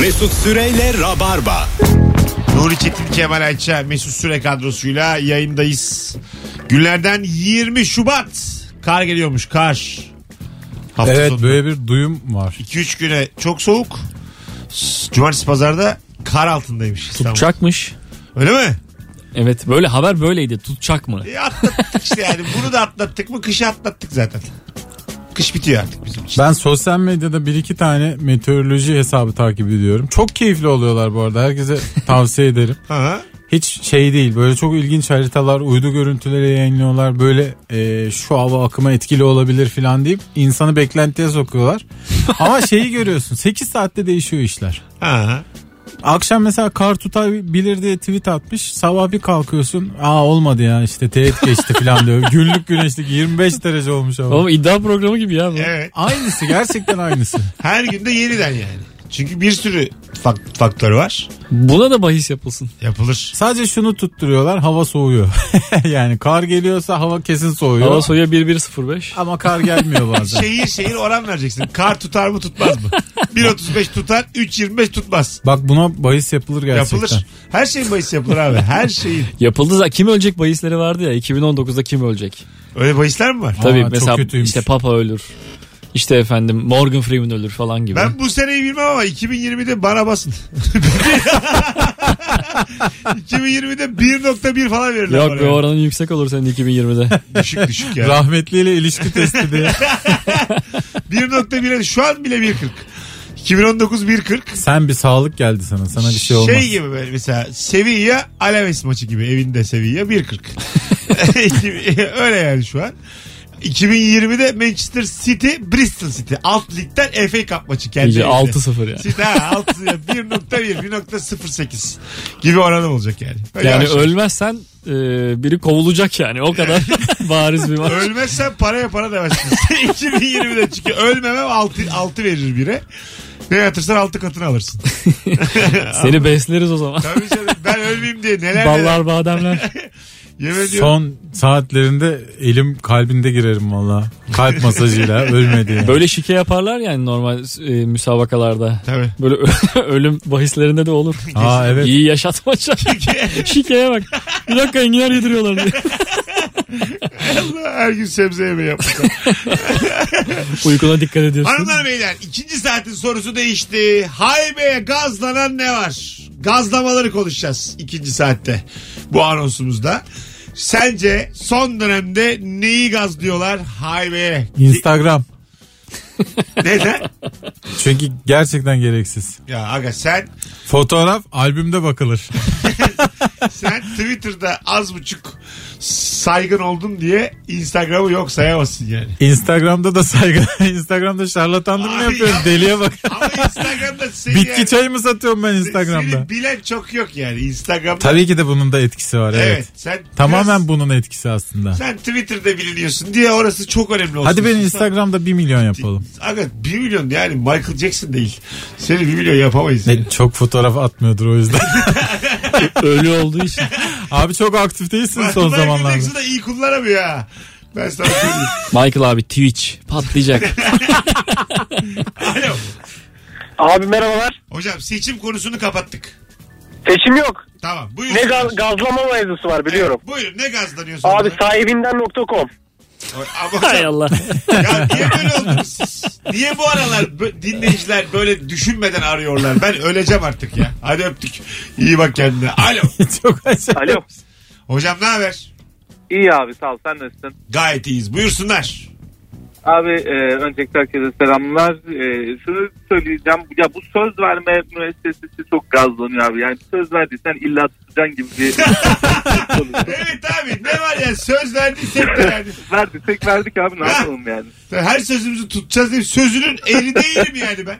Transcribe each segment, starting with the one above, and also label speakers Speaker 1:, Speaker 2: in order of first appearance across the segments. Speaker 1: Mesut Süreyle Rabarba.
Speaker 2: Nuri Çetin, Kemal Ayça, Mesut Süre kadrosuyla yayındayız. Günlerden 20 Şubat. Kar geliyormuş kar. Hafta
Speaker 3: Evet
Speaker 2: sonu.
Speaker 3: böyle bir duyum var.
Speaker 2: 2-3 güne çok soğuk. S- Cumartesi pazarda kar altındaymış İstanbul.
Speaker 4: Tutacakmış.
Speaker 2: Öyle mi?
Speaker 4: Evet böyle haber böyleydi. Tutacak mı?
Speaker 2: E atlattık işte yani. Bunu da atlattık mı kışı atlattık zaten. Kış bitiyor artık bizim için.
Speaker 3: Ben sosyal medyada bir iki tane meteoroloji hesabı takip ediyorum. Çok keyifli oluyorlar bu arada. Herkese tavsiye ederim.
Speaker 2: Ha.
Speaker 3: Hiç şey değil böyle çok ilginç haritalar uydu görüntüleri yayınlıyorlar böyle e, şu hava akıma etkili olabilir falan deyip insanı beklentiye sokuyorlar. Ama şeyi görüyorsun 8 saatte değişiyor işler.
Speaker 2: Ha.
Speaker 3: Akşam mesela kar tutabilir diye tweet atmış sabah bir kalkıyorsun aa olmadı ya işte teğet geçti falan diyor. Günlük güneşlik 25 derece olmuş ama.
Speaker 4: Oğlum iddia programı gibi ya bu.
Speaker 2: Evet.
Speaker 3: Aynısı gerçekten aynısı.
Speaker 2: Her günde yeniden yani. Çünkü bir sürü fak- faktör var.
Speaker 4: Buna da bahis yapılsın.
Speaker 2: Yapılır.
Speaker 3: Sadece şunu tutturuyorlar hava soğuyor. yani kar geliyorsa hava kesin soğuyor.
Speaker 4: Hava soya 1105.
Speaker 3: ama kar gelmiyor bazen.
Speaker 2: Şehir şehir oran vereceksin. Kar tutar mı tutmaz mı? 1.35 tutar, 3.25 tutmaz.
Speaker 3: Bak buna bahis yapılır gerçekten.
Speaker 2: Yapılır. Her şeyin bahis yapılır abi. Her şeyin.
Speaker 4: Yapıldı zaten. Kim ölecek bahisleri vardı ya. 2019'da kim ölecek?
Speaker 2: Öyle bahisler mi var?
Speaker 4: Tabii
Speaker 3: çok
Speaker 4: mesela
Speaker 3: kötüymüş.
Speaker 4: işte Papa ölür. İşte efendim Morgan Freeman ölür falan gibi.
Speaker 2: Ben bu seneyi bilmem ama 2020'de bana basın. 2020'de 1.1 falan verirler
Speaker 4: Yok
Speaker 2: bana.
Speaker 4: be oranın yüksek olur senin 2020'de.
Speaker 2: Düşük düşük yani.
Speaker 3: Rahmetliyle ilişki testi diye.
Speaker 2: 1.1'e şu an bile 1.40. 2019 1.40.
Speaker 3: Sen bir sağlık geldi sana. Sana bir şey olmaz.
Speaker 2: gibi böyle mesela Sevilla Alaves maçı gibi evinde Sevilla 1.40. Öyle yani şu an. 2020'de Manchester City Bristol City alt ligden FA Cup maçı kendi
Speaker 4: İyice
Speaker 2: evinde.
Speaker 4: 6-0 ya.
Speaker 2: City ha 6 ya 1.1 1.08 gibi oranı olacak yani. Öyle
Speaker 4: Yani
Speaker 2: yavaş.
Speaker 4: ölmezsen e, biri kovulacak yani o kadar bariz bir maç.
Speaker 2: Ölmezsen paraya para demezsin. 2020'de çünkü ölmemem 6, 6 verir bire. Ne yatırsan 6 katını alırsın.
Speaker 4: Seni besleriz o zaman.
Speaker 2: Tabii canım ben ölmeyeyim diye neler neler.
Speaker 4: Ballar bademler.
Speaker 2: Yemin ediyorum.
Speaker 3: Son saatlerinde elim kalbinde girerim valla. Kalp masajıyla ölmedi. yani.
Speaker 4: Böyle şike yaparlar yani normal e, müsabakalarda.
Speaker 2: Tabii.
Speaker 4: Böyle ö- ölüm bahislerinde de olur.
Speaker 3: Aa evet.
Speaker 4: şey. İyi yaşatmaca. Şikeye bak. Bir dakika enginar yediriyorlar diye.
Speaker 2: Allah, her gün sebze yemeği yapmışlar.
Speaker 4: Uykuna dikkat ediyorsun.
Speaker 2: Hanımlar beyler ikinci saatin sorusu değişti. Haybe'ye gazlanan ne var? Gazlamaları konuşacağız ikinci saatte bu anonsumuzda. Sence son dönemde neyi gazlıyorlar Haybe'ye?
Speaker 3: Instagram.
Speaker 2: Neden?
Speaker 3: Çünkü gerçekten gereksiz.
Speaker 2: ya aga sen
Speaker 3: Fotoğraf albümde bakılır.
Speaker 2: sen Twitter'da az buçuk saygın oldum diye Instagram'ı yok sayamazsın yani.
Speaker 3: Instagram'da da saygı. Instagram'da şarlatanlık mı
Speaker 2: Abi
Speaker 3: yapıyorum?
Speaker 2: yapma.
Speaker 3: Deliye bak.
Speaker 2: Ama Instagram'da seni
Speaker 3: Bitki
Speaker 2: yani-
Speaker 3: çayı mı satıyorum ben Instagram'da?
Speaker 2: Seni bilen çok yok yani Instagram'da.
Speaker 3: Tabii ki de bunun da etkisi var evet.
Speaker 2: Evet. Sen biraz-
Speaker 3: Tamamen bunun etkisi aslında.
Speaker 2: Sen Twitter'da biliniyorsun diye orası çok önemli olsun.
Speaker 3: Hadi ben
Speaker 2: Sen-
Speaker 3: Instagram'da 1 milyon yapalım.
Speaker 2: Aga 1 milyon yani Michael Jackson değil. Seni 1 milyon yapamayız. yani.
Speaker 3: Ne, çok fotoğraf atmıyordur o yüzden.
Speaker 4: Ölü olduğu için.
Speaker 3: Abi çok aktif değilsin son
Speaker 2: Michael
Speaker 3: zamanlarda.
Speaker 2: Jackson da iyi kullanamıyor ha. Ben sana söyleyeyim.
Speaker 4: Michael abi Twitch patlayacak.
Speaker 2: Alo.
Speaker 5: Abi merhabalar.
Speaker 2: Hocam seçim konusunu kapattık.
Speaker 5: Seçim yok.
Speaker 2: Tamam. Buyurun.
Speaker 5: Ne gaz, gazlama mevzusu var biliyorum.
Speaker 2: Buyurun ne gazlanıyorsun?
Speaker 5: Abi
Speaker 2: bana?
Speaker 5: sahibinden.com.
Speaker 2: Ama
Speaker 4: Hay
Speaker 2: hocam,
Speaker 4: Allah.
Speaker 2: ya niye böyle oldunuz siz? Niye bu aralar bö- dinleyiciler böyle düşünmeden arıyorlar? Ben öleceğim artık ya. Hadi öptük. İyi bak kendine. Alo.
Speaker 3: çok acayip.
Speaker 5: Alo.
Speaker 2: Hocam ne haber?
Speaker 6: İyi abi sağ ol sen nasılsın?
Speaker 2: Gayet iyiyiz. Buyursunlar.
Speaker 6: Abi e, öncelikle herkese selamlar. E, şunu söyleyeceğim. Ya bu söz verme müessesesi çok gazlanıyor abi. Yani söz verdiysen illa tutacaksın gibi bir...
Speaker 2: Evet abi ne var ya söz verdiysek de yani.
Speaker 6: Verdiysek verdik abi ne yapalım yani.
Speaker 2: Her sözümüzü tutacağız diye sözünün eri değilim yani ben.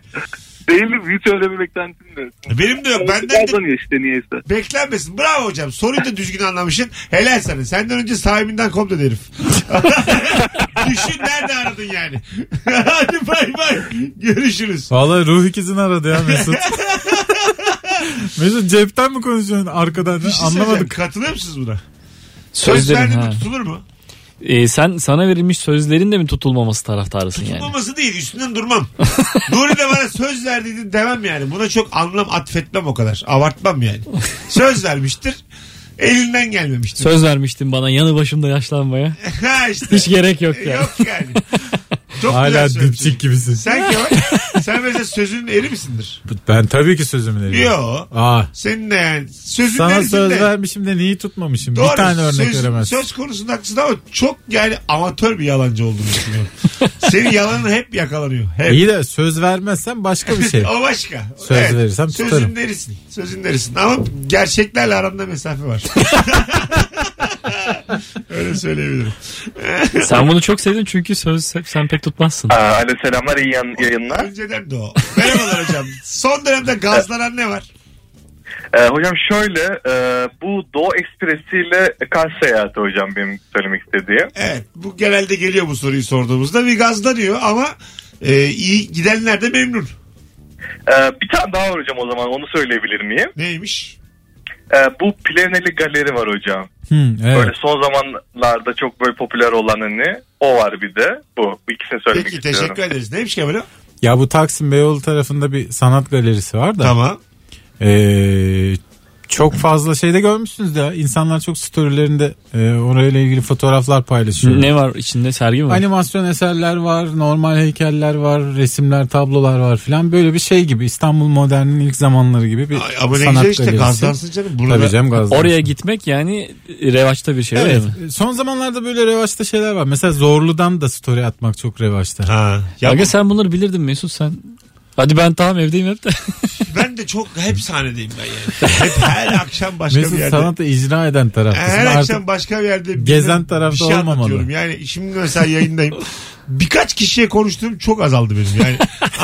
Speaker 6: Değilim hiç öyle bir beklentim de. yok.
Speaker 2: Benim de yok. Benden de
Speaker 6: Gazlanıyor işte niyeyse.
Speaker 2: beklenmesin. Bravo hocam. Soruyu da düzgün anlamışsın. Helal sana. Senden önce sahibinden kom dedi herif. Düşün nerede aradın yani. Hadi bay bay. Görüşürüz.
Speaker 3: Valla ruh ikizini aradı ya Mesut. Mesut cepten mi konuşuyorsun arkadan?
Speaker 2: Bir şey söyleyeceğim.
Speaker 3: Anlamadık.
Speaker 2: Katılıyor musunuz buna? Söz
Speaker 4: Sözlerin
Speaker 2: verdi mi
Speaker 4: ha.
Speaker 2: tutulur mu?
Speaker 4: e, sen sana verilmiş sözlerin de mi tutulmaması taraftarısın yani?
Speaker 2: Tutmaması değil üstünden durmam. Nuri de bana söz verdiydi demem yani. Buna çok anlam atfetmem o kadar. Abartmam yani. Söz vermiştir. Elinden gelmemiştir.
Speaker 4: Söz vermiştin bana yanı başımda yaşlanmaya.
Speaker 2: ha işte.
Speaker 4: Hiç gerek yok ya.
Speaker 2: Yok yani. Çok güzel
Speaker 3: Hala
Speaker 2: söylemişsin.
Speaker 3: dipçik gibisin.
Speaker 2: Sen Kemal, sen mesela sözünün eri misindir?
Speaker 3: Ben tabii ki sözümü veriyorum.
Speaker 2: Yo.
Speaker 3: Aa,
Speaker 2: Senin de yani. Sözün
Speaker 3: sana
Speaker 2: erisin
Speaker 3: söz
Speaker 2: de.
Speaker 3: vermişim de neyi tutmamışım? Bir tane örnek
Speaker 2: söz,
Speaker 3: veremezsin.
Speaker 2: Söz konusunda haklısın ama çok yani amatör bir yalancı olduğunu düşünüyorum. Senin yalanın hep yakalanıyor. Hep.
Speaker 3: İyi de söz vermezsen başka bir şey.
Speaker 2: O başka.
Speaker 3: Söz verirsem
Speaker 2: Sözün
Speaker 3: tutarım.
Speaker 2: derisin. Sözün derisin. Ama gerçeklerle aranda mesafe var. Öyle söyleyebilirim.
Speaker 4: Sen bunu çok sevdin çünkü söz sen pek tutmazsın.
Speaker 5: Aa, alo selamlar iyi yan- yayınlar.
Speaker 2: Önceden de o. Merhabalar hocam. Son dönemde gazlanan ne var?
Speaker 5: Ee, hocam şöyle e, bu Doğu Ekspresi ile Kars seyahati hocam benim söylemek istediğim.
Speaker 2: Evet. Bu genelde geliyor bu soruyu sorduğumuzda. Bir gazlanıyor ama e, iyi gidenler de memnun.
Speaker 5: Ee, bir tane daha var hocam o zaman onu söyleyebilir miyim?
Speaker 2: Neymiş?
Speaker 5: Ee, bu Plevneli Galeri var hocam.
Speaker 3: Hı,
Speaker 5: Böyle
Speaker 2: şey.
Speaker 3: evet.
Speaker 5: son zamanlarda çok böyle popüler olan hani o var bir de bu. Bu ikisini söylemek
Speaker 2: Peki
Speaker 5: istiyorum.
Speaker 2: teşekkür ederiz. Neymiş Kemal'im?
Speaker 3: Ya bu Taksim Beyoğlu tarafında bir sanat galerisi var da.
Speaker 2: Tamam.
Speaker 3: Ee, çok fazla şeyde görmüşsünüz ya. İnsanlar çok storylerinde e, orayla ilgili fotoğraflar paylaşıyor.
Speaker 4: Ne var içinde sergi mi var?
Speaker 3: Animasyon eserler var, normal heykeller var, resimler, tablolar var filan. Böyle bir şey gibi İstanbul Modern'in ilk zamanları gibi bir
Speaker 2: Ay, ama ne
Speaker 3: sanat
Speaker 2: güzel işte
Speaker 3: galerisi.
Speaker 2: gazlansın canım. Burada
Speaker 3: Tabii canım gazdan.
Speaker 4: Oraya gitmek yani revaçta bir şey
Speaker 3: Evet. e,
Speaker 4: öyle mi?
Speaker 3: Son zamanlarda böyle revaçta şeyler var. Mesela Zorlu'dan da story atmak çok revaçta.
Speaker 2: Ha. Ya
Speaker 4: Aga sen bunları bilirdin Mesut sen. Hadi ben tamam evdeyim hep de.
Speaker 2: ben de çok hep sahnedeyim ben yani. Hep her akşam başka bir
Speaker 3: Mesut
Speaker 2: yerde.
Speaker 3: sanatı icra eden taraftasın.
Speaker 2: Her
Speaker 3: Artık
Speaker 2: akşam başka bir yerde bir-
Speaker 3: gezen tarafta
Speaker 2: bir şey
Speaker 3: olmamalı.
Speaker 2: anlatıyorum. Yani şimdi mesela yayındayım. Birkaç kişiye konuştuğum çok azaldı benim. Yani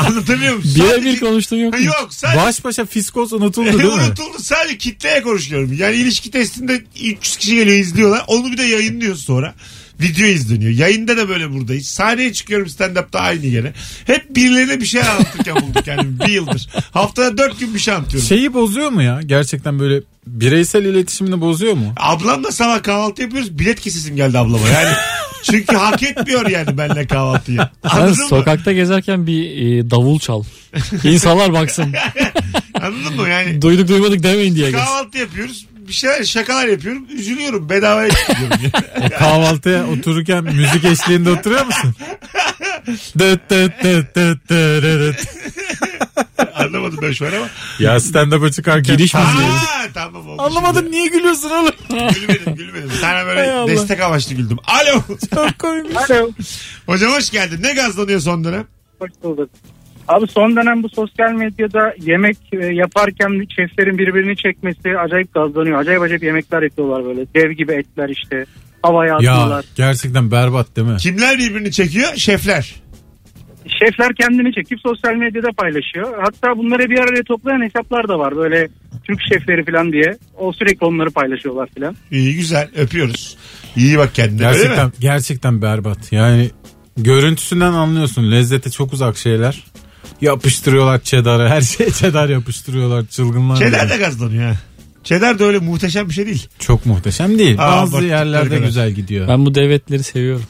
Speaker 2: anlatabiliyor muyum?
Speaker 4: Birebir konuştuğum yok.
Speaker 2: Ha,
Speaker 4: mu?
Speaker 2: Yok sadece E,
Speaker 3: baş başa fiskos unutuldu değil mi?
Speaker 2: unutuldu. Sadece kitleye konuşuyorum. Yani ilişki testinde 300 kişi geliyor izliyorlar. Onu bir de yayınlıyoruz sonra. Video izleniyor. Yayında da böyle buradayız. Sahneye çıkıyorum stand-up'ta aynı yere. Hep birilerine bir şey anlatırken bulduk kendimi bir yıldır. Haftada dört gün bir şey anlatıyorum.
Speaker 3: Şeyi bozuyor mu ya? Gerçekten böyle bireysel iletişimini bozuyor mu?
Speaker 2: Ablamla sabah kahvaltı yapıyoruz. Bilet kesesim geldi ablama. Yani çünkü hak etmiyor yani benimle kahvaltıyı.
Speaker 4: Sen
Speaker 2: Anladın mı?
Speaker 4: sokakta gezerken bir e, davul çal. İnsanlar baksın.
Speaker 2: Anladın mı? Yani
Speaker 4: Duyduk duymadık demeyin diye. gez.
Speaker 2: kahvaltı yapıyoruz. Bir şeyler şakalar yapıyorum. Üzülüyorum. Bedavaya gidiyorum.
Speaker 3: O kahvaltıya otururken müzik eşliğinde oturuyor musun? Dıt dıt dıt dıt dırırıt.
Speaker 2: Anlamadım ben şu an ama.
Speaker 3: ya stand-up'a çıkarken.
Speaker 4: Giriş müziği.
Speaker 2: Aa, tamam olmuş.
Speaker 3: Anlamadım niye gülüyorsun oğlum?
Speaker 2: Gülmedim gülmedim. Sana
Speaker 3: Hay
Speaker 2: böyle
Speaker 3: Allah.
Speaker 2: destek amaçlı güldüm. Alo.
Speaker 3: Çok komikmiş.
Speaker 7: Alo.
Speaker 2: Hocam hoş geldin. Ne gazlanıyor son dönem?
Speaker 7: Hoş bulduk. Abi son dönem bu sosyal medyada yemek e, yaparken şeflerin birbirini çekmesi acayip gazlanıyor. Acayip acayip yemekler yapıyorlar böyle. Dev gibi etler işte. Havaya
Speaker 3: Ya
Speaker 7: atıyorlar.
Speaker 3: gerçekten berbat değil mi?
Speaker 2: Kimler birbirini çekiyor? Şefler.
Speaker 7: Şefler kendini çekip sosyal medyada paylaşıyor. Hatta bunları bir araya toplayan hesaplar da var. Böyle Türk şefleri falan diye. O sürekli onları paylaşıyorlar falan.
Speaker 2: İyi güzel öpüyoruz. İyi bak kendine. Öyle mi?
Speaker 3: Gerçekten gerçekten berbat. Yani görüntüsünden anlıyorsun. Lezzete çok uzak şeyler. Yapıştırıyorlar çedara. Her şeye çedar yapıştırıyorlar. Çılgınlar.
Speaker 2: Çedar
Speaker 3: gibi.
Speaker 2: da gazlanıyor ha. Çedar da öyle muhteşem bir şey değil.
Speaker 3: Çok muhteşem değil.
Speaker 2: Aa,
Speaker 3: Bazı
Speaker 2: abarttıkları
Speaker 3: yerlerde
Speaker 2: kadar.
Speaker 3: güzel gidiyor.
Speaker 4: Ben bu devletleri seviyorum.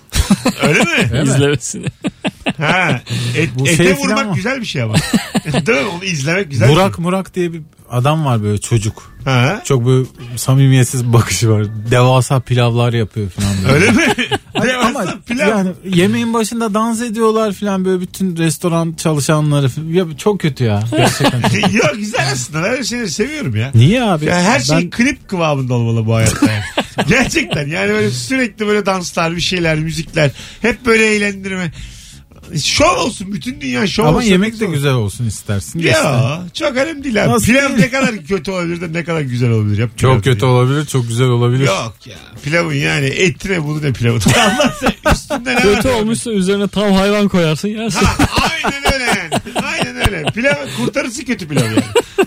Speaker 2: Öyle mi?
Speaker 3: mi?
Speaker 4: İzlemesini.
Speaker 2: ha. Et,
Speaker 3: Bu
Speaker 2: ete
Speaker 3: şey filan
Speaker 2: vurmak
Speaker 3: mı?
Speaker 2: güzel bir şey ama. Değil mi? Onu izlemek güzel. bir
Speaker 3: Burak Murak diye bir adam var böyle çocuk.
Speaker 2: şey. Ha.
Speaker 3: Çok böyle samimiyetsiz bakışı var. Devasa pilavlar yapıyor falan. böyle.
Speaker 2: Öyle mi? Devasa
Speaker 3: Ama
Speaker 2: pilav.
Speaker 3: yani yemeğin başında dans ediyorlar falan böyle bütün restoran çalışanları. falan. Ya çok kötü ya. Gerçekten.
Speaker 2: Yok güzel aslında. Ben öyle şeyleri seviyorum ya.
Speaker 3: Niye abi?
Speaker 2: Ya her şey
Speaker 3: Ben-
Speaker 2: klip kıvamında olmalı bu hayatta. yani. Gerçekten yani böyle sürekli böyle danslar, bir şeyler, müzikler. Hep böyle eğlendirme. Şov olsun. Bütün dünya şov
Speaker 3: ama
Speaker 2: olsun.
Speaker 3: yemek de güzel olsun istersin. ister.
Speaker 2: Ya çok önemli değil abi.
Speaker 3: Nasıl
Speaker 2: Pilav
Speaker 3: değil?
Speaker 2: ne kadar kötü olabilir de ne kadar güzel olabilir. Ya, pilav
Speaker 3: Çok kötü
Speaker 2: diye.
Speaker 3: olabilir, çok güzel olabilir.
Speaker 2: Yok ya. Pilavın yani etine bunu ne pilavın. Allah sen üstünde ne
Speaker 4: Kötü
Speaker 2: var?
Speaker 4: olmuşsa üzerine tam hayvan koyarsın yersin.
Speaker 2: Ha, aynen öyle yani. Aynen öyle. Pilav kurtarısı kötü pilav yani.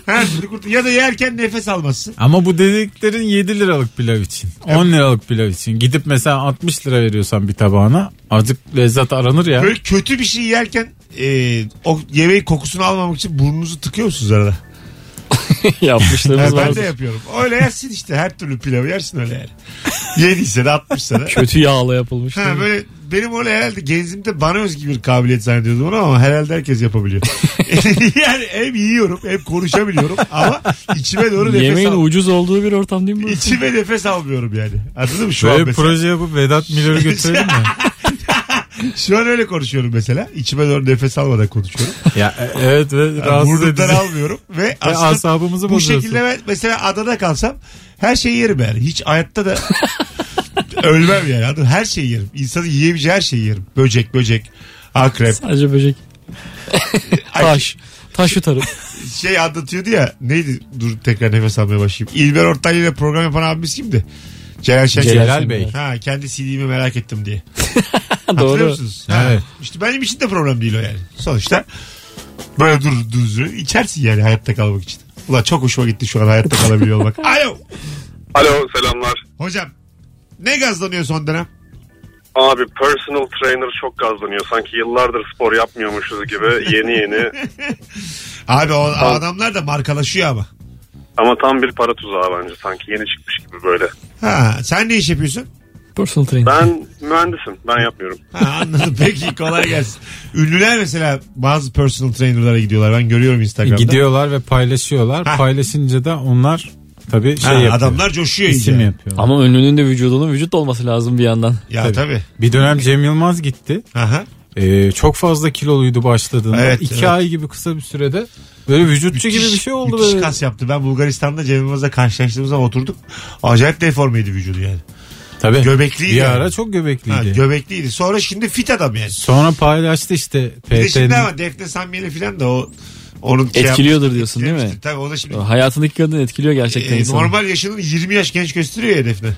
Speaker 2: Her türlü kurtar- ya da yerken nefes almazsın.
Speaker 3: Ama bu dediklerin 7 liralık pilav için. 10 liralık pilav için. Gidip mesela 60 lira veriyorsan bir tabağına azıcık lezzet aranır ya.
Speaker 2: Böyle kötü bir şey yerken e, o yemeğin kokusunu almamak için burnunuzu tıkıyor musunuz arada?
Speaker 4: Yapmışlarımız
Speaker 2: Yani
Speaker 4: var.
Speaker 2: ben de yapıyorum. Öyle yersin işte her türlü pilavı yersin öyle yani. Yediyse de atmışsa da.
Speaker 4: Kötü yağla yapılmış.
Speaker 2: Ha böyle benim öyle herhalde genzimde bana özgü bir kabiliyet zannediyordum onu ama herhalde herkes yapabiliyor. yani hem yiyorum hem konuşabiliyorum ama içime doğru nefes
Speaker 4: Yemeğin
Speaker 2: al-
Speaker 4: ucuz olduğu bir ortam değil mi burası?
Speaker 2: içime nefes almıyorum yani. Şey, Anladın mı şu an
Speaker 3: Böyle bir
Speaker 2: mesela?
Speaker 3: proje yapıp Vedat Milor'u götürelim mi?
Speaker 2: Şu an öyle konuşuyorum mesela. İçime doğru nefes almadan konuşuyorum.
Speaker 3: ya, e- evet ve
Speaker 2: Yani
Speaker 3: rahatsız
Speaker 2: burnumdan
Speaker 3: edici.
Speaker 2: almıyorum ve
Speaker 3: Ve
Speaker 2: aslında
Speaker 3: asabımızı
Speaker 2: bu
Speaker 3: bozuyorsun.
Speaker 2: şekilde ben mesela adada kalsam her şeyi yerim yani. Hiç hayatta da ölmem yani. Anladın mı? Her şeyi yerim. İnsanın yiyebileceği her şeyi yerim. Böcek, böcek, akrep.
Speaker 4: Sadece böcek.
Speaker 2: Ay,
Speaker 4: Taş. Taş yutarım.
Speaker 2: şey anlatıyordu ya neydi dur tekrar nefes almaya başlayayım. İlber Ortaylı ile program yapan abimiz kimdi? Celal Şen.
Speaker 3: Celal Bey.
Speaker 2: Ha kendi CD'mi merak ettim diye. Hatırlıyor
Speaker 4: Doğru.
Speaker 2: musunuz? Ha,
Speaker 3: Evet.
Speaker 2: İşte benim için de problem değil o yani. Sonuçta böyle dur dur dur içersin yani hayatta kalmak için. Ulan çok hoşuma gitti şu an hayatta kalabiliyor olmak. Alo
Speaker 5: Alo selamlar.
Speaker 2: hocam ne gazlanıyor son dönem?
Speaker 5: Abi personal trainer çok gazlanıyor. Sanki yıllardır spor yapmıyormuşuz gibi yeni yeni.
Speaker 2: Abi o adamlar da markalaşıyor ama.
Speaker 5: Ama tam bir para tuzağı bence sanki yeni çıkmış gibi böyle.
Speaker 2: Ha, sen ne iş yapıyorsun?
Speaker 4: Personal trainer.
Speaker 5: Ben mühendisim ben yapmıyorum.
Speaker 2: Ha, anladım peki kolay gelsin. Ünlüler mesela bazı personal trainerlara gidiyorlar. Ben görüyorum Instagram'da.
Speaker 3: E, Gidiyorlar ve paylaşıyorlar.
Speaker 2: Ha.
Speaker 3: Paylaşınca da onlar tabii şey
Speaker 2: Ha,
Speaker 3: yapıyor.
Speaker 2: adamlar coşuyor
Speaker 3: isim
Speaker 2: iyice.
Speaker 3: yapıyorlar.
Speaker 4: Ama ünlünün de vücudunun vücut olması lazım bir yandan.
Speaker 2: Ya tabii.
Speaker 3: Bir dönem Cem Yılmaz gitti.
Speaker 2: Aha.
Speaker 3: Ee, çok fazla kiloluydu başladığında.
Speaker 2: Evet,
Speaker 3: İki
Speaker 2: evet.
Speaker 3: ay gibi kısa bir sürede böyle vücutçu gibi bir şey oldu.
Speaker 2: Müthiş
Speaker 3: Böyle.
Speaker 2: kas yaptı. Ben Bulgaristan'da Cem Yılmaz'la karşılaştığımız zaman oturduk. Acayip deformeydi vücudu yani.
Speaker 3: Tabii.
Speaker 2: Göbekliydi.
Speaker 3: Bir
Speaker 2: yani.
Speaker 3: ara çok göbekliydi.
Speaker 2: Ha, göbekliydi. Sonra şimdi fit adam yani.
Speaker 3: Sonra paylaştı işte
Speaker 2: Bir de şimdi
Speaker 3: PT'nin.
Speaker 2: ama Defne Samyeli falan da o onun şey
Speaker 4: Etkiliyordur
Speaker 2: yapmıştı,
Speaker 4: diyorsun değil mi?
Speaker 2: etkilemişti. Tabii o da
Speaker 3: Oh,
Speaker 2: şimdi
Speaker 4: Hayatındaki kadın etkiliyor gerçekten
Speaker 2: e,
Speaker 4: insanı.
Speaker 2: normal yaşının 20 yaş genç gösteriyor ya Defne.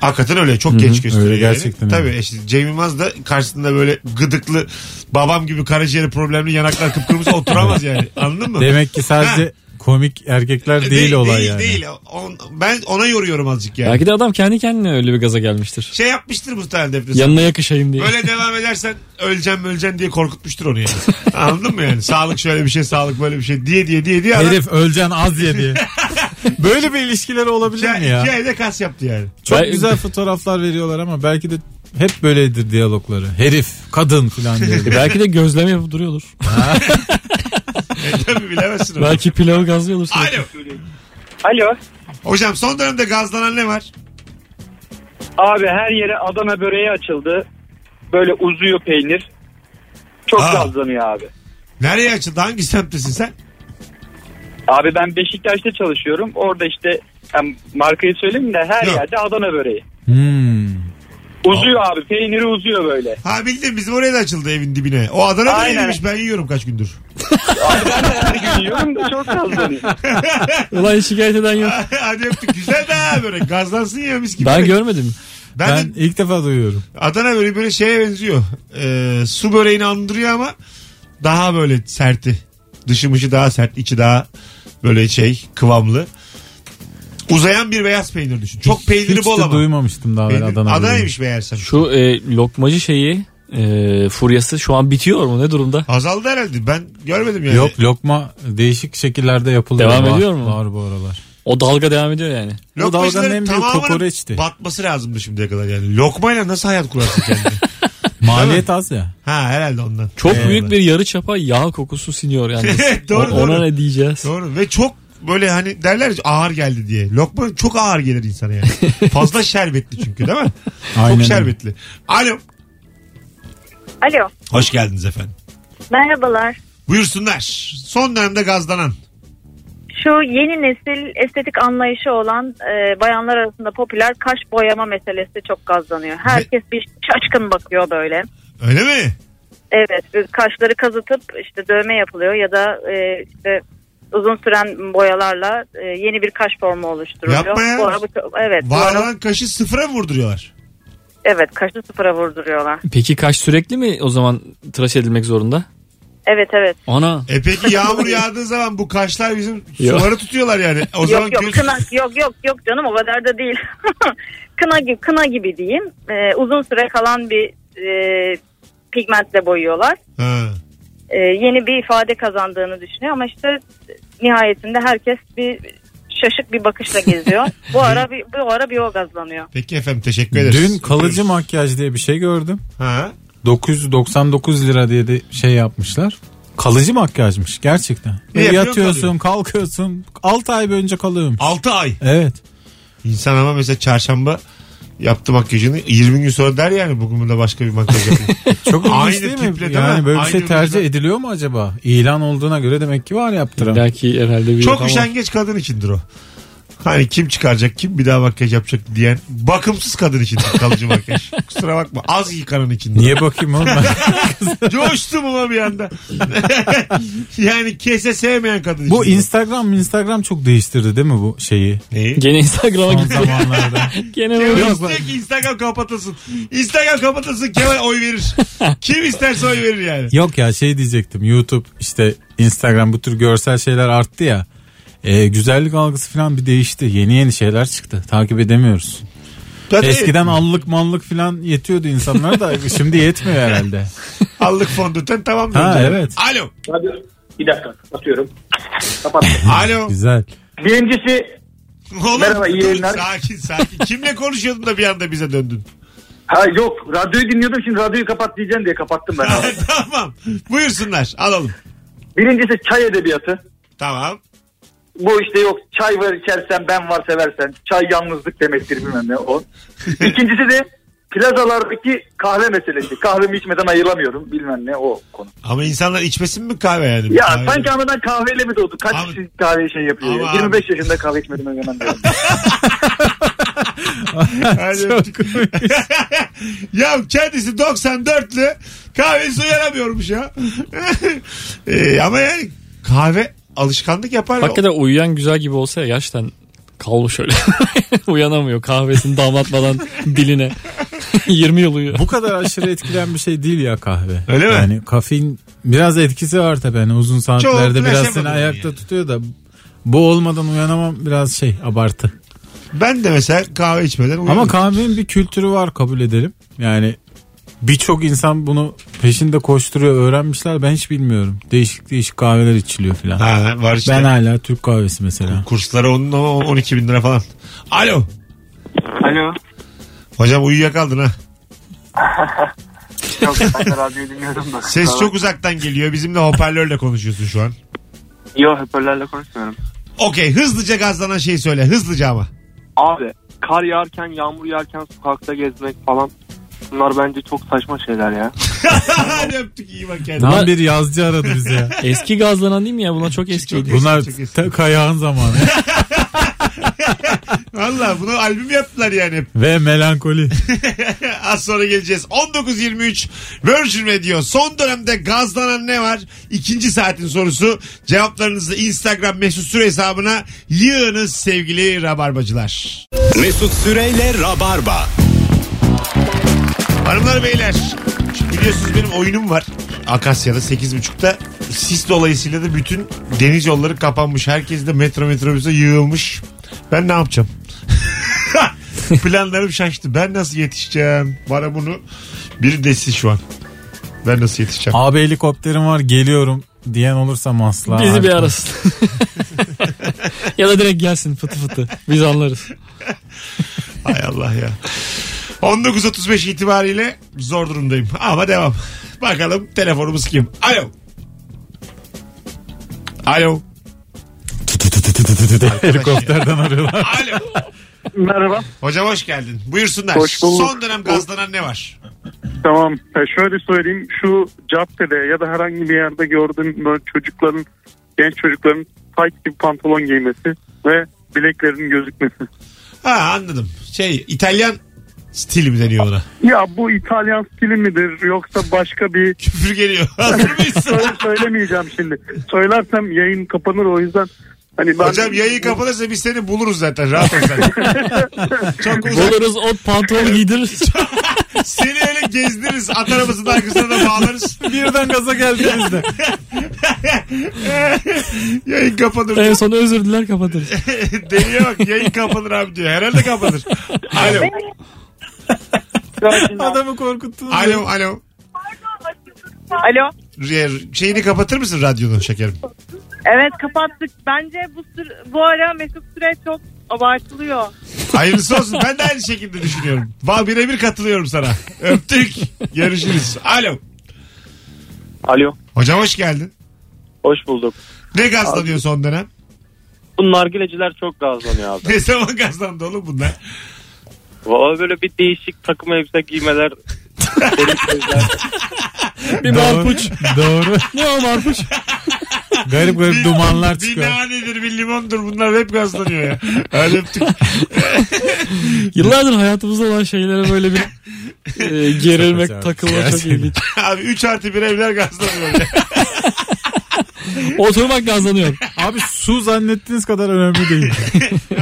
Speaker 2: Hakikaten öyle çok genç gösteriyor.
Speaker 3: öyle
Speaker 2: yani.
Speaker 3: gerçekten öyle.
Speaker 2: Tabii işte Cem Yılmaz da karşısında böyle gıdıklı babam gibi karaciğeri problemli yanaklar kıpkırmızı oturamaz yani. Anladın mı?
Speaker 3: Demek ki sadece
Speaker 2: Ha. E,
Speaker 3: komik erkekler değil, olay
Speaker 2: değil,
Speaker 3: yani.
Speaker 2: Değil On- ben ona yoruyorum azıcık yani.
Speaker 4: Belki de adam kendi kendine öyle bir gaza gelmiştir.
Speaker 2: Şey yapmıştır muhtemelen Defne.
Speaker 4: Yanına yakışayım diye.
Speaker 2: Böyle devam edersen öleceğim öleceğim diye korkutmuştur onu yani. Anladın mı yani? Sağlık şöyle bir şey, sağlık böyle bir şey diye diye diye diye. adam
Speaker 3: Herif öleceksin az ye diye. Böyle bir ilişkiler
Speaker 2: iki,
Speaker 3: olabilir mi
Speaker 2: ay- iki
Speaker 3: ya?
Speaker 2: ayda kas yaptı yani.
Speaker 3: Çok
Speaker 4: Ben-
Speaker 3: güzel fotoğraflar veriyorlar ama belki de hep böyledir diyalogları. Herif, kadın falan diye.
Speaker 4: E, Belki de gözlem yapıp duruyordur.
Speaker 2: E, tabii bilemezsin onu.
Speaker 4: Belki pilavı gazlıyordur sürekli.
Speaker 2: Alo.
Speaker 7: Alo.
Speaker 2: Hocam son dönemde gazlanan ne var?
Speaker 7: Abi her yere Adana böreği açıldı. Böyle uzuyor peynir. Çok
Speaker 2: Aa.
Speaker 7: gazlanıyor abi.
Speaker 2: Nereye açıldı? Hangi semttesin sen?
Speaker 7: Abi ben Beşiktaş'ta çalışıyorum. Orada işte yani markayı söyleyeyim de her
Speaker 2: Yok.
Speaker 7: yerde Adana böreği.
Speaker 3: Hmm.
Speaker 7: Uzuyor abi peyniri uzuyor böyle.
Speaker 2: Ha bildim bizim oraya da açıldı evin dibine. O Adana
Speaker 7: Aynen.
Speaker 2: böreğiymiş ben yiyorum kaç gündür.
Speaker 7: Her gün yiyorum da çok gazlanıyor.
Speaker 4: Ulan şikayet eden yok.
Speaker 2: Hadi öptük. Güzel de ha börek. Gazlansın ya mis gibi.
Speaker 4: Ben görmedim.
Speaker 2: Ben de
Speaker 3: Ben ilk defa duyuyorum.
Speaker 2: Adana böreği böyle şeye benziyor. Ee, su böreğini andırıyor ama daha böyle serti. Dışı mışı daha sert, içi daha böyle şey kıvamlı. Uzayan bir beyaz peynir düşün. Çok peyniri
Speaker 3: Hiç
Speaker 2: bol
Speaker 3: de
Speaker 2: ama.
Speaker 3: duymamıştım daha
Speaker 2: Peynir-
Speaker 3: evvel Adana.
Speaker 2: Adana'ymış meğersem.
Speaker 4: Şu e, lokmacı şeyi e, furyası şu an bitiyor mu? Ne durumda?
Speaker 2: Azaldı herhalde. Ben görmedim yani.
Speaker 3: böreği. Yok lokma değişik şekillerde yapılıyor.
Speaker 4: Devam
Speaker 3: Var-
Speaker 4: ediyor mu?
Speaker 3: Var bu aralar.
Speaker 4: O dalga devam ediyor yani.
Speaker 3: Bu dalganın en büyük
Speaker 2: tamamının
Speaker 3: kokoreçti.
Speaker 2: batması lazımdı şimdiye kadar yani. Lokmayla nasıl hayat kurarsın kendini?
Speaker 3: Maliyet az ya.
Speaker 2: ha herhalde ondan.
Speaker 4: Çok
Speaker 3: Ee,
Speaker 2: Eyvallah.
Speaker 4: büyük bir yarı çapa yağ kokusu siniyor yani.
Speaker 2: Doğru,
Speaker 4: O- Ona
Speaker 2: doğru.
Speaker 4: ne diyeceğiz?
Speaker 2: Doğru ve çok böyle hani derler ya, ağır geldi diye. Lokma çok ağır gelir insana yani. Fazla şerbetli çünkü değil mi?
Speaker 3: Aynen
Speaker 2: çok
Speaker 3: öyle.
Speaker 2: şerbetli. Alo.
Speaker 8: Alo.
Speaker 2: Hoş geldiniz efendim.
Speaker 8: Merhabalar.
Speaker 2: Buyursunlar. Son dönemde gazlanan.
Speaker 8: Şu yeni nesil estetik anlayışı olan e, bayanlar arasında popüler kaş boyama meselesi çok gazlanıyor. Herkes bir şaşkın bakıyor böyle.
Speaker 2: Öyle mi?
Speaker 8: Evet e, kaşları kazıtıp işte dövme yapılıyor ya da e, işte uzun süren boyalarla e, yeni bir kaş formu oluşturuluyor.
Speaker 2: Yapma ya.
Speaker 8: Bu ara bu çok- evet, bu
Speaker 2: Var
Speaker 8: ara-
Speaker 2: olan kaşı sıfıra mı vurduruyorlar?
Speaker 8: evet kaşı sıfıra vurduruyorlar.
Speaker 4: Peki kaş sürekli mi o zaman tıraş edilmek zorunda?
Speaker 8: Evet evet.
Speaker 4: Ana.
Speaker 2: E peki yağmur yağdığı zaman bu kaşlar bizim
Speaker 4: Yok.
Speaker 2: suları tutuyorlar yani. O zaman
Speaker 8: yok yok
Speaker 2: göz-
Speaker 8: kına yok yok yok canım o kadar da değil. kına gibi kına gibi diyeyim. Ee, uzun süre kalan bir e, pigmentle boyuyorlar.
Speaker 2: Ha.
Speaker 8: Ee, yeni bir ifade kazandığını düşünüyor ama işte nihayetinde herkes bir şaşık bir bakışla geziyor. bu ara bir, bu ara bir o gazlanıyor.
Speaker 2: Peki efendim teşekkür ederiz.
Speaker 3: Dün kalıcı makyaj diye bir şey gördüm.
Speaker 2: Ha.
Speaker 3: 999 lira diye de şey yapmışlar. Kalıcı makyajmış gerçekten.
Speaker 2: Ne
Speaker 3: E,
Speaker 2: yapıyor,
Speaker 3: yatıyorsun,
Speaker 2: kalıyor.
Speaker 3: kalkıyorsun. 6 ay boyunca kalıyorum.
Speaker 2: 6 ay.
Speaker 3: Evet.
Speaker 2: İnsan ama mesela çarşamba yaptı makyajını 20 gün sonra der yani bugün bunda başka bir makyaj yapayım.
Speaker 3: Çok
Speaker 2: Aynı
Speaker 3: ilginç değil mi?
Speaker 2: tiple değil
Speaker 3: yani
Speaker 2: mi?
Speaker 3: böyle bir
Speaker 2: Aynı
Speaker 3: şey tercih
Speaker 2: vücuda.
Speaker 3: ediliyor mu acaba? İlan olduğuna göre demek ki var yaptıran.
Speaker 4: Belki herhalde bir
Speaker 2: Çok
Speaker 4: ama-
Speaker 2: üşengeç kadın içindir o. Hani kim çıkaracak kim bir daha makyaj yapacak diyen bakımsız kadın içindir kalıcı makyaj. Kusura bakma az yıkanan içindir.
Speaker 3: Niye bakayım oğlum ben?
Speaker 2: Coştum ama bir anda. yani kese sevmeyen kadın
Speaker 3: Bu
Speaker 2: içindir.
Speaker 3: Instagram Instagram çok değiştirdi değil mi bu şeyi?
Speaker 2: Neyi?
Speaker 4: Gene Instagram'a
Speaker 3: Son
Speaker 4: gitti.
Speaker 3: zamanlarda.
Speaker 4: Gene
Speaker 2: Kemal
Speaker 4: böyle.
Speaker 2: istiyor ki Instagram kapatılsın. Instagram kapatılsın Kemal oy verir. Kim isterse oy verir yani.
Speaker 3: Yok ya şey diyecektim YouTube işte Instagram bu tür görsel şeyler arttı ya. E, güzellik algısı falan bir değişti. Yeni yeni şeyler çıktı. Takip edemiyoruz.
Speaker 2: Tabii
Speaker 3: Eskiden allık mallık falan yetiyordu insanlara da şimdi yetmiyor herhalde.
Speaker 2: allık fondöten tamam
Speaker 3: Ha,
Speaker 2: diyor.
Speaker 3: evet.
Speaker 2: Alo.
Speaker 9: Hadi bir dakika atıyorum. Kapat.
Speaker 2: Alo.
Speaker 3: Güzel.
Speaker 9: Birincisi
Speaker 2: Oğlum,
Speaker 9: Merhaba, iyi
Speaker 2: dur,
Speaker 9: yayınlar.
Speaker 2: Sakin sakin. Kimle konuşuyordun da bir anda bize döndün?
Speaker 9: ha yok radyoyu dinliyordum şimdi radyoyu kapat diyeceğim diye kapattım ben. abi.
Speaker 2: tamam. Buyursunlar. Alalım.
Speaker 9: Birincisi çay edebiyatı.
Speaker 2: Tamam.
Speaker 9: Bu işte yok çay var içersen ben var seversen. Çay yalnızlık demektir bilmem ne o. İkincisi de plazalardaki kahve meselesi. Kahvemi içmeden ayılamıyorum bilmem ne o konu.
Speaker 2: Ama insanlar içmesin mi kahve yani?
Speaker 9: Ya
Speaker 2: Kahve-
Speaker 9: sanki anadan kahveyle mi doğdu? Kaç
Speaker 2: Abi-
Speaker 9: kişi kahve şey yapıyor ya?
Speaker 2: Ama
Speaker 9: 25 yaşında kahve içmedim önemli. değil.
Speaker 2: Hadi öptük. ya kendisi 94'lü kahvesi uyanamıyormuş ya. Ee, ama yani kahve alışkanlık yapar.
Speaker 4: Hakikaten uyuyan güzel gibi olsa ya yaştan kalmış öyle. Uyanamıyor kahvesini damlatmadan diline. 20 yıl uyuyor.
Speaker 3: Bu kadar aşırı etkilen bir şey değil ya kahve.
Speaker 2: Öyle mi?
Speaker 3: Yani kafein biraz etkisi var tabii. Yani uzun saatlerde biraz
Speaker 2: ulaşamadım
Speaker 3: seni ayakta
Speaker 2: yani.
Speaker 3: tutuyor da bu olmadan uyanamam biraz şey abartı.
Speaker 2: Ben de mesela kahve içmeden uyanıyorum.
Speaker 3: Ama kahvenin bir kültürü var kabul edelim. Yani birçok insan bunu peşinde koşturuyor öğrenmişler ben hiç bilmiyorum. Değişik değişik kahveler içiliyor filan.
Speaker 2: Ha, var işte.
Speaker 3: Ben hala Türk kahvesi mesela.
Speaker 2: Kursları onun ama 12 bin lira falan. Alo.
Speaker 9: Alo.
Speaker 2: Hocam uyuyakaldın ha.
Speaker 9: Yok ben de radyoyu dinliyorum da.
Speaker 2: Ses çok uzaktan geliyor. Bizimle hoparlörle konuşuyorsun şu an.
Speaker 9: Yok hoparlörle konuşmuyorum.
Speaker 2: Okey hızlıca gazlanan şeyi söyle. Hızlıca ama.
Speaker 9: Abi kar yağarken yağmur yağarken sokakta gezmek falan bunlar bence çok saçma şeyler ya.
Speaker 2: Hadi öptük iyi bak kendine.
Speaker 3: Tam bir yazcı aradı bizi ya.
Speaker 4: Eski gazlanan değil mi ya? Buna çok
Speaker 2: Çok
Speaker 4: eski.
Speaker 2: eski.
Speaker 3: Bunlar
Speaker 2: çok eski.
Speaker 3: ta- kayağın zamanı
Speaker 2: Valla bunu albüm yaptılar yani.
Speaker 3: ve melankoli.
Speaker 2: Az sonra geleceğiz. 19.23 Virgin Radio. Son dönemde gazlanan ne var? İkinci saatin sorusu. Cevaplarınızı Instagram mesut süre hesabına yığınız sevgili rabarbacılar.
Speaker 1: Mesut Süreyle Rabarba.
Speaker 2: Hanımlar beyler şimdi biliyorsunuz benim oyunum var. Akasya'da 8.30'da sis dolayısıyla da bütün deniz yolları kapanmış. Herkes de metro metrobüse yığılmış. Ben ne yapacağım? Planlarım şaştı. Ben nasıl yetişeceğim? Bana bunu biri desin şu an. Ben nasıl yetişeceğim?
Speaker 3: Abi helikopterim var geliyorum diyen olursa masla.
Speaker 4: Bizi bir arasın. ya da direkt gelsin fıtı fıtı. Biz anlarız.
Speaker 2: Hay Allah ya. 19.35 itibariyle zor durumdayım. Ama devam. Bakalım telefonumuz kim? Alo. Alo.
Speaker 3: Helikopterden arıyorlar.
Speaker 2: Alo.
Speaker 6: Merhaba.
Speaker 2: Hocam hoş geldin. Buyursunlar.
Speaker 6: Hoş bulduk.
Speaker 2: Son dönem gazlanan ne var?
Speaker 6: Tamam. E, şöyle söyleyeyim. Şu caddede ya da herhangi bir yerde gördüğüm böyle çocukların, genç çocukların tight gibi pantolon giymesi ve bileklerinin gözükmesi.
Speaker 2: Ha anladım. Şey İtalyan stili mi deniyor ona?
Speaker 6: Ya bu İtalyan stili midir yoksa başka bir...
Speaker 2: Küfür geliyor. Hazır mısın?
Speaker 6: Söyle, söylemeyeceğim şimdi. Söylersem yayın kapanır o yüzden. Hani ben...
Speaker 2: Hocam yayın kapanırsa biz seni buluruz zaten. Rahat ol sen. Çok uzak.
Speaker 4: Buluruz ot pantolon giydiririz.
Speaker 2: Seni öyle gezdiririz. At arabasının arkasına da bağlarız.
Speaker 3: Birden gaza geldiniz de.
Speaker 2: yayın kapanır.
Speaker 4: en son özür diler kapatırız.
Speaker 2: Deliye bak yayın kapanır abi diyor. Herhalde kapanır. Alo.
Speaker 3: Adamı korkuttunuz.
Speaker 2: Alo. Alo.
Speaker 8: Alo.
Speaker 2: Re- Şeyini kapatır mısın radyonu şekerim?
Speaker 8: Evet kapattık. Bence bu sür- bu ara Mesut Süre çok abartılıyor.
Speaker 2: Hayırlısı olsun. Ben de aynı şekilde düşünüyorum. Vallahi birebir katılıyorum sana. Öptük. Görüşürüz. Alo.
Speaker 6: Alo.
Speaker 2: Hocam hoş geldin.
Speaker 6: Hoş bulduk.
Speaker 2: Ne gazlanıyor son dönem?
Speaker 6: Bu nargileciler çok gazlanıyor abi.
Speaker 2: Ne zaman gazlandı oğlum bunlar?
Speaker 6: Valla böyle bir değişik takım elbise giymeler.
Speaker 4: Bir
Speaker 3: Doğru.
Speaker 4: marpuç.
Speaker 3: Doğru.
Speaker 4: Ne o marpuç?
Speaker 3: Garip garip dumanlar çıkıyor.
Speaker 2: Bir nanedir bir limondur bunlar hep gazlanıyor ya. Öyle öptük.
Speaker 4: Yıllardır hayatımızda olan şeylere böyle bir e,
Speaker 3: Çok
Speaker 4: gerilmek,
Speaker 3: acayip.
Speaker 4: takılma çok
Speaker 3: Gerçekten.
Speaker 4: ilginç.
Speaker 2: Abi 3 artı 1 evler gazlanıyor.
Speaker 4: Oturmak gazlanıyor.
Speaker 3: Abi su zannettiğiniz kadar önemli değil.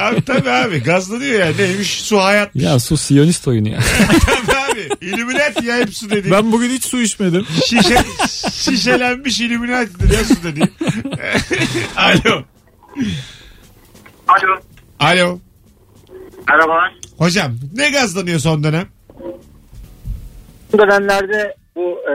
Speaker 2: abi tabii abi gazlanıyor ya. Neymiş su hayat.
Speaker 4: Ya su siyonist oyunu ya.
Speaker 2: Tabii abi. İlluminati ya hep su dediğin.
Speaker 3: Ben bugün hiç su içmedim.
Speaker 2: Şişe, şişelenmiş illuminatidir ya su dediğin. Alo.
Speaker 6: Alo.
Speaker 2: Alo.
Speaker 9: Merhabalar.
Speaker 2: Hocam ne gazlanıyor son dönem?
Speaker 9: Bu dönemlerde bu e,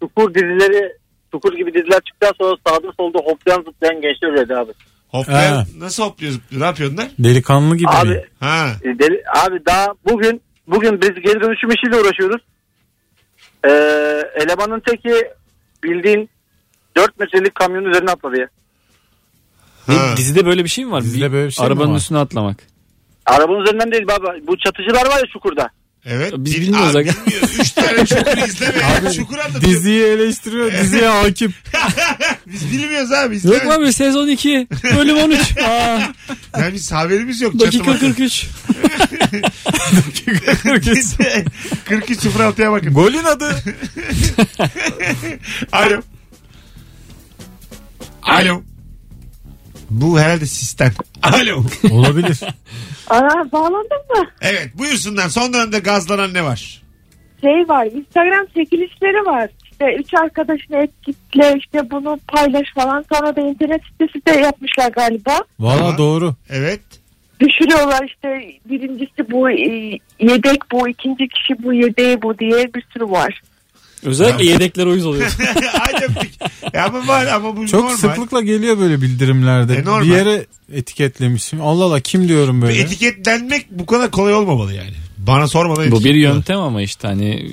Speaker 9: Çukur dizileri Çukur gibi diziler çıktıktan sonra sağda solda hoplayan zıplayan gençler üredi abi.
Speaker 2: Hoplayan,
Speaker 3: Ha.
Speaker 2: nasıl hopluyoruz? Ne yapıyorlar?
Speaker 3: Delikanlı gibi.
Speaker 9: Abi,
Speaker 3: mi?
Speaker 2: Ha.
Speaker 9: e, deli- abi daha bugün bugün biz geri dönüşüm işiyle uğraşıyoruz. E, elemanın teki bildiğin 4 metrelik kamyonun üzerine atladı ya.
Speaker 2: ha.
Speaker 4: Dizide böyle bir şey mi var?
Speaker 3: Dizide
Speaker 4: Bir-
Speaker 3: böyle bir şey mi
Speaker 4: arabanın
Speaker 3: var?
Speaker 4: üstüne atlamak.
Speaker 9: Arabanın üzerinden değil baba. Bu çatıcılar var ya Çukur'da.
Speaker 2: Evet.
Speaker 4: Biz bilmiyoruz
Speaker 2: Abi,
Speaker 4: aga.
Speaker 2: bilmiyoruz. Üç tane çukur izleme. Abi, çukur anlatıyor.
Speaker 3: Diziyi eleştiriyor. Diziye hakim.
Speaker 2: Biz bilmiyoruz abi.
Speaker 4: Yok
Speaker 2: izlemedik.
Speaker 4: abi sezon 2 bölüm 13. Aa,
Speaker 2: Yani biz haberimiz yok.
Speaker 4: dakika
Speaker 2: Çatıma-
Speaker 4: 43.
Speaker 2: 43 06'ya bakın.
Speaker 3: Golün adı.
Speaker 2: Alo. Alo. Bu herhalde sistem. Alo.
Speaker 3: Olabilir.
Speaker 8: Aa, bağlandın mı?
Speaker 2: Evet buyursunlar. Son dönemde gazlanan ne var?
Speaker 8: şey var Instagram çekilişleri var. İşte üç arkadaşını etkitle işte bunu paylaş falan. Sonra da internet sitesi de yapmışlar galiba.
Speaker 3: Valla
Speaker 2: Tamam.
Speaker 3: doğru.
Speaker 2: Evet.
Speaker 8: Düşürüyorlar işte birincisi bu e, yedek bu ikinci kişi bu yedeği bu diye bir sürü var.
Speaker 4: Özellikle yedekler uyuz oluyor.
Speaker 2: Hadi öptük. Ya ama var ama bu
Speaker 3: Çok
Speaker 2: normal.
Speaker 3: sıklıkla geliyor böyle bildirimlerde.
Speaker 2: E, normal.
Speaker 3: bir yere etiketlemişim. Allah Allah kim diyorum böyle.
Speaker 2: Etiketlenmek bu kadar kolay olmamalı yani. Bana sormadan
Speaker 4: Bu bir
Speaker 2: etiketlenmek.
Speaker 4: yöntem ama işte hani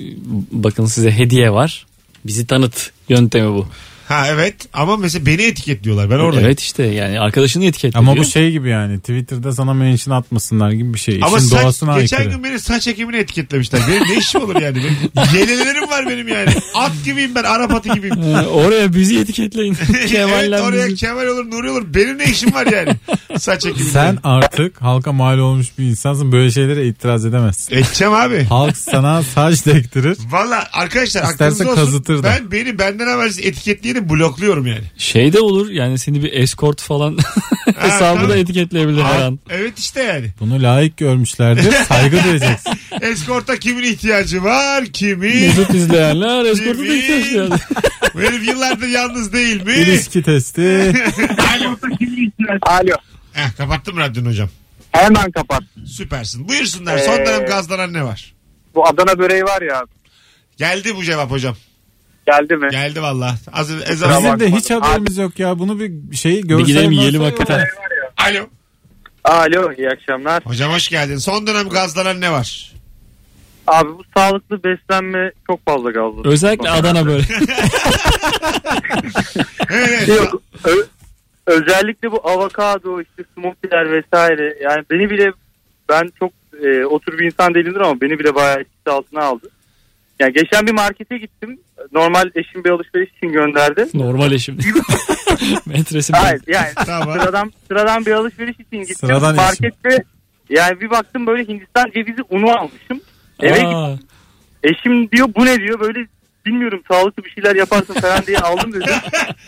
Speaker 4: bakın size hediye var. Bizi tanıt yöntemi bu.
Speaker 2: Ha evet ama mesela beni etiketliyorlar. Ben oradayım.
Speaker 4: Evet işte yani arkadaşını etiketliyor.
Speaker 3: Ama bu şey gibi yani Twitter'da sana mention atmasınlar gibi bir şey. İşin
Speaker 2: Ama saç, geçen
Speaker 3: doğasına aykırı.
Speaker 2: gün beni saç ekimine etiketlemişler. Benim ne işim olur yani? Benim, yelelerim var benim yani. At gibiyim ben. Arap atı gibiyim.
Speaker 4: Ee, oraya bizi etiketleyin. Kemal'le
Speaker 2: evet oraya
Speaker 4: bizi.
Speaker 2: Kemal olur Nuri olur. Benim ne işim var yani? Saç ekimine.
Speaker 3: Sen artık halka mal olmuş bir insansın. Böyle şeylere itiraz edemezsin.
Speaker 2: Edeceğim abi.
Speaker 3: Halk sana saç dektirir.
Speaker 2: Valla arkadaşlar
Speaker 3: İsterse
Speaker 2: aklınızda olsun.
Speaker 3: kazıtır da.
Speaker 2: Ben beni benden habersiz etiketleyeni blokluyorum yani.
Speaker 4: Şey de olur yani seni bir escort falan hesabı da
Speaker 2: tabii.
Speaker 4: etiketleyebilir her
Speaker 2: Aa,
Speaker 4: an.
Speaker 2: evet işte yani.
Speaker 3: Bunu layık görmüşlerdir. Saygı duyacaksın.
Speaker 2: Eskorta kimin ihtiyacı var? Kimin?
Speaker 4: Mesut izleyenler escort'a da
Speaker 2: Kimin?
Speaker 4: ihtiyaç duyar.
Speaker 2: Bu herif yıllardır yalnız değil mi?
Speaker 3: İlişki testi.
Speaker 9: Alo.
Speaker 2: Heh, Eh, kapattım radyonu hocam.
Speaker 9: Hemen kapat.
Speaker 2: Süpersin. Buyursunlar. Son
Speaker 9: Ee,
Speaker 2: dönem gazlanan ne var?
Speaker 9: Bu Adana böreği var ya.
Speaker 2: Geldi bu cevap hocam.
Speaker 9: Geldi mi?
Speaker 2: Geldi valla. Az ezan
Speaker 3: Bizim de
Speaker 9: bakmadım.
Speaker 3: hiç haberimiz yok ya. Bunu bir şey görsel.
Speaker 4: Bir gidelim
Speaker 3: görsel
Speaker 4: yiyelim
Speaker 3: yok.
Speaker 4: hakikaten.
Speaker 2: Alo.
Speaker 9: Alo iyi akşamlar.
Speaker 2: Hocam hoş geldin. Son dönem gazlanan ne var?
Speaker 9: Abi bu sağlıklı beslenme çok fazla gazlı.
Speaker 4: Özellikle Adana böyle.
Speaker 2: Evet. evet.
Speaker 9: Yok, ö- özellikle bu avokado, işte smoothie'ler vesaire. Yani beni bile ben çok e, o tür bir insan değilimdir ama beni bile bayağı etkisi altına aldı. Yani geçen bir markete gittim. Normal eşim bir alışveriş için gönderdi.
Speaker 4: Normal eşim. Metresi
Speaker 9: Hayır yani
Speaker 2: Tamam.
Speaker 9: sıradan sıradan bir alışveriş için gittim.
Speaker 3: Sıradan
Speaker 9: Markette yani bir baktım böyle Hindistan cevizi unu almışım.
Speaker 4: Aa,
Speaker 9: Eve gittim. Eşim diyor bu ne diyor böyle bilmiyorum sağlıklı bir şeyler yaparsın falan diye aldım dedi.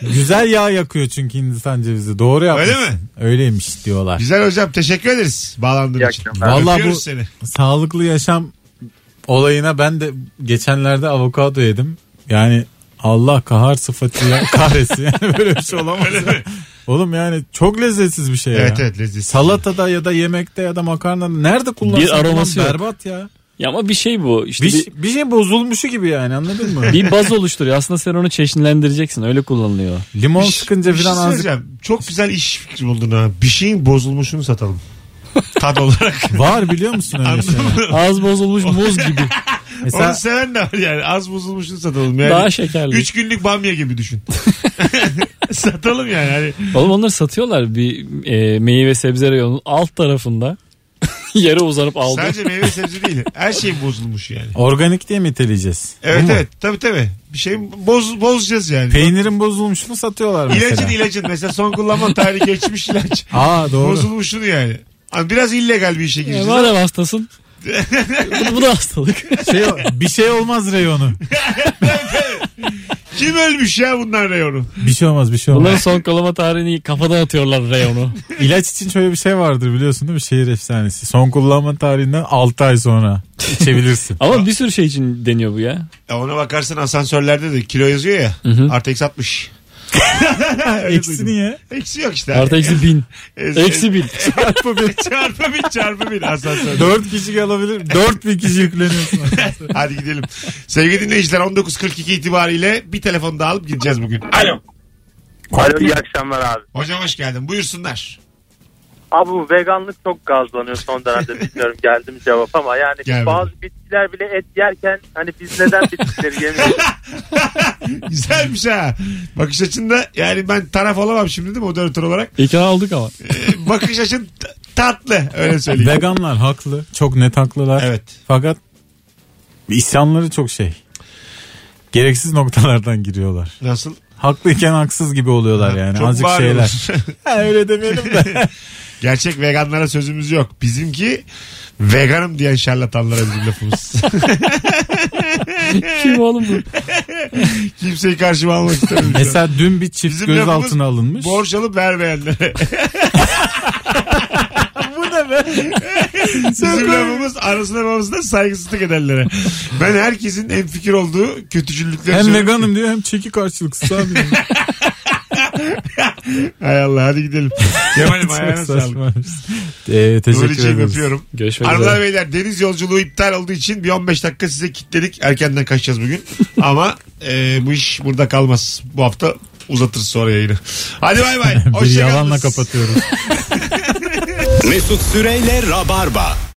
Speaker 3: Güzel yağ yakıyor çünkü Hindistan cevizi. Doğru yapmışsın.
Speaker 2: Öyle mi?
Speaker 3: Öyleymiş diyorlar.
Speaker 2: Güzel hocam. Teşekkür ederiz bağlandığın
Speaker 9: İyi
Speaker 2: için.
Speaker 9: akşamlar.
Speaker 3: Vallahi bu
Speaker 2: Öpüyoruz seni.
Speaker 3: sağlıklı yaşam olayına ben de geçenlerde avokado yedim. Yani Allah kahar sıfatı ya, kahretsin. Yani böyle bir şey olamaz.
Speaker 2: Öyle mi?
Speaker 3: Oğlum yani çok lezzetsiz bir şey ya.
Speaker 2: Evet evet lezzetli.
Speaker 3: Salatada ya da yemekte ya da makarnada nerede kullansan
Speaker 4: Bir aroması
Speaker 3: kullan,
Speaker 4: yok.
Speaker 3: berbat ya.
Speaker 4: Ya ama bir şey bu. İşte
Speaker 3: Bir,
Speaker 4: bir,
Speaker 3: bir şey bozulmuşu gibi yani anladın mı?
Speaker 4: bir baz oluşturuyor. Aslında sen onu çeşitlendireceksin. Öyle kullanılıyor.
Speaker 3: Limon
Speaker 2: Bir-
Speaker 3: sıkınca
Speaker 2: bir şey
Speaker 3: falan azıcık.
Speaker 2: söyleyeceğim. Çok güzel iş fikri buldun ha. Bir şeyin bozulmuşunu satalım. Tad olarak.
Speaker 3: Var biliyor musun öyle şey?
Speaker 4: Ağız bozulmuş muz gibi.
Speaker 3: Mesela
Speaker 2: Onu seven de var yani. Az bozulmuşunu satalım. Yani
Speaker 3: şey-
Speaker 4: Daha şekerli.
Speaker 2: Üç günlük bamya gibi düşün. satalım yani. Hani
Speaker 4: Oğlum onları satıyorlar bir e, meyve sebze reyonunun alt tarafında. yere uzanıp aldı.
Speaker 2: sadece meyve sebze değil. Her şey bozulmuş yani.
Speaker 3: organik diye mi niteleyeceğiz?
Speaker 2: Evet
Speaker 3: Bu mu?
Speaker 2: evet. Tabii tabii. Bir şey boz, bozacağız yani.
Speaker 3: Peynirin bozulmuşunu satıyorlar mesela.
Speaker 2: İlacın ilacın. Mesela son kullanma tarihi geçmiş ilaç.
Speaker 3: Aa doğru.
Speaker 2: Bozulmuşunu yani. Hani Biraz illegal bir işe
Speaker 4: E,
Speaker 2: gireceğiz.
Speaker 4: madem hastasın. bu, bu da hastalık.
Speaker 3: Şey, bir şey olmaz reyonu.
Speaker 2: Kim ölmüş ya bunlar reyonu?
Speaker 3: Bir şey olmaz bir şey olmaz.
Speaker 4: Bunların son kalama tarihini kafadan atıyorlar reyonu.
Speaker 3: İlaç için şöyle bir şey vardır biliyorsun değil mi? Şehir efsanesi. Son kullanma tarihinden 6 ay sonra içebilirsin.
Speaker 4: Ama bir sürü şey için deniyor bu ya.
Speaker 2: Ya E, ona bakarsın asansörlerde de kilo yazıyor ya. Artı eksi 60. Öyle
Speaker 3: Eksi
Speaker 2: duydum.
Speaker 3: niye?
Speaker 2: Eksi yok işte.
Speaker 4: Artı eksi bin.
Speaker 2: Ez-
Speaker 4: Eksi bin.
Speaker 3: Çarpı bir.
Speaker 2: Çarpı bin çarpı bin asansör.
Speaker 3: 4 kişi alabilir. 4000 kişi yükleniyorsun.
Speaker 2: Hadi gidelim. Sevgili dinleyiciler 19.42 itibariyle bir telefon daha alıp gideceğiz bugün. Alo.
Speaker 6: Alo iyi akşamlar abi.
Speaker 2: Hocam hoş geldin. Buyursunlar.
Speaker 6: Abi bu veganlık çok gazlanıyor son dönemde bilmiyorum geldi mi cevap ama yani
Speaker 2: Gelmedi.
Speaker 6: bazı bitkiler bile et yerken hani biz neden bitkileri yemiyoruz?
Speaker 2: Güzelmiş ha. Bakış açında yani ben taraf olamam şimdi değil mi moderatör olarak?
Speaker 4: İkna aldık ama.
Speaker 2: Ee, bakış açın t- tatlı öyle söyleyeyim.
Speaker 3: Veganlar haklı. Çok net haklılar.
Speaker 2: Evet.
Speaker 3: Fakat isyanları çok şey. Gereksiz noktalardan giriyorlar.
Speaker 2: Nasıl?
Speaker 3: Haklıyken haksız gibi oluyorlar yani.
Speaker 2: Çok
Speaker 3: Azıcık
Speaker 2: bağırıyorlar.
Speaker 3: şeyler. Ha, öyle demeyelim de.
Speaker 2: Gerçek veganlara sözümüz yok. Bizimki veganım diyen şarlatanlara bizim lafımız.
Speaker 4: Kim oğlum bu?
Speaker 2: Kimseyi karşıma almak istemiyorum.
Speaker 3: Mesela dün bir çift
Speaker 2: Bizim lafımız
Speaker 3: gözaltına alınmış.
Speaker 2: Borç alıp vermeyenlere.
Speaker 3: Bu ne be?
Speaker 2: Bizim lafımız anasına babasına saygısızlık edenlere. Ben herkesin en fikir olduğu kötücüllükleri
Speaker 3: Hem
Speaker 2: söylüyorum.
Speaker 3: veganım diyor hem çeki karşılıksız abi.
Speaker 2: Hay Allah hadi gidelim. Kemal'im ayağına sağlık.
Speaker 3: Ee, teşekkür
Speaker 2: Nuri'ciğim
Speaker 3: ederiz.
Speaker 2: öpüyorum.
Speaker 4: Görüşmek üzere.
Speaker 2: Hanımlar beyler deniz yolculuğu iptal olduğu için bir 15 dakika size kilitledik. Erkenden kaçacağız bugün. Ama e, bu iş burada kalmaz. Bu hafta uzatırız sonra yayını. Hadi bay bay.
Speaker 3: Bir
Speaker 2: Hoşçakalın.
Speaker 3: yalanla kapatıyoruz.
Speaker 1: Mesut Süreyle Rabarba.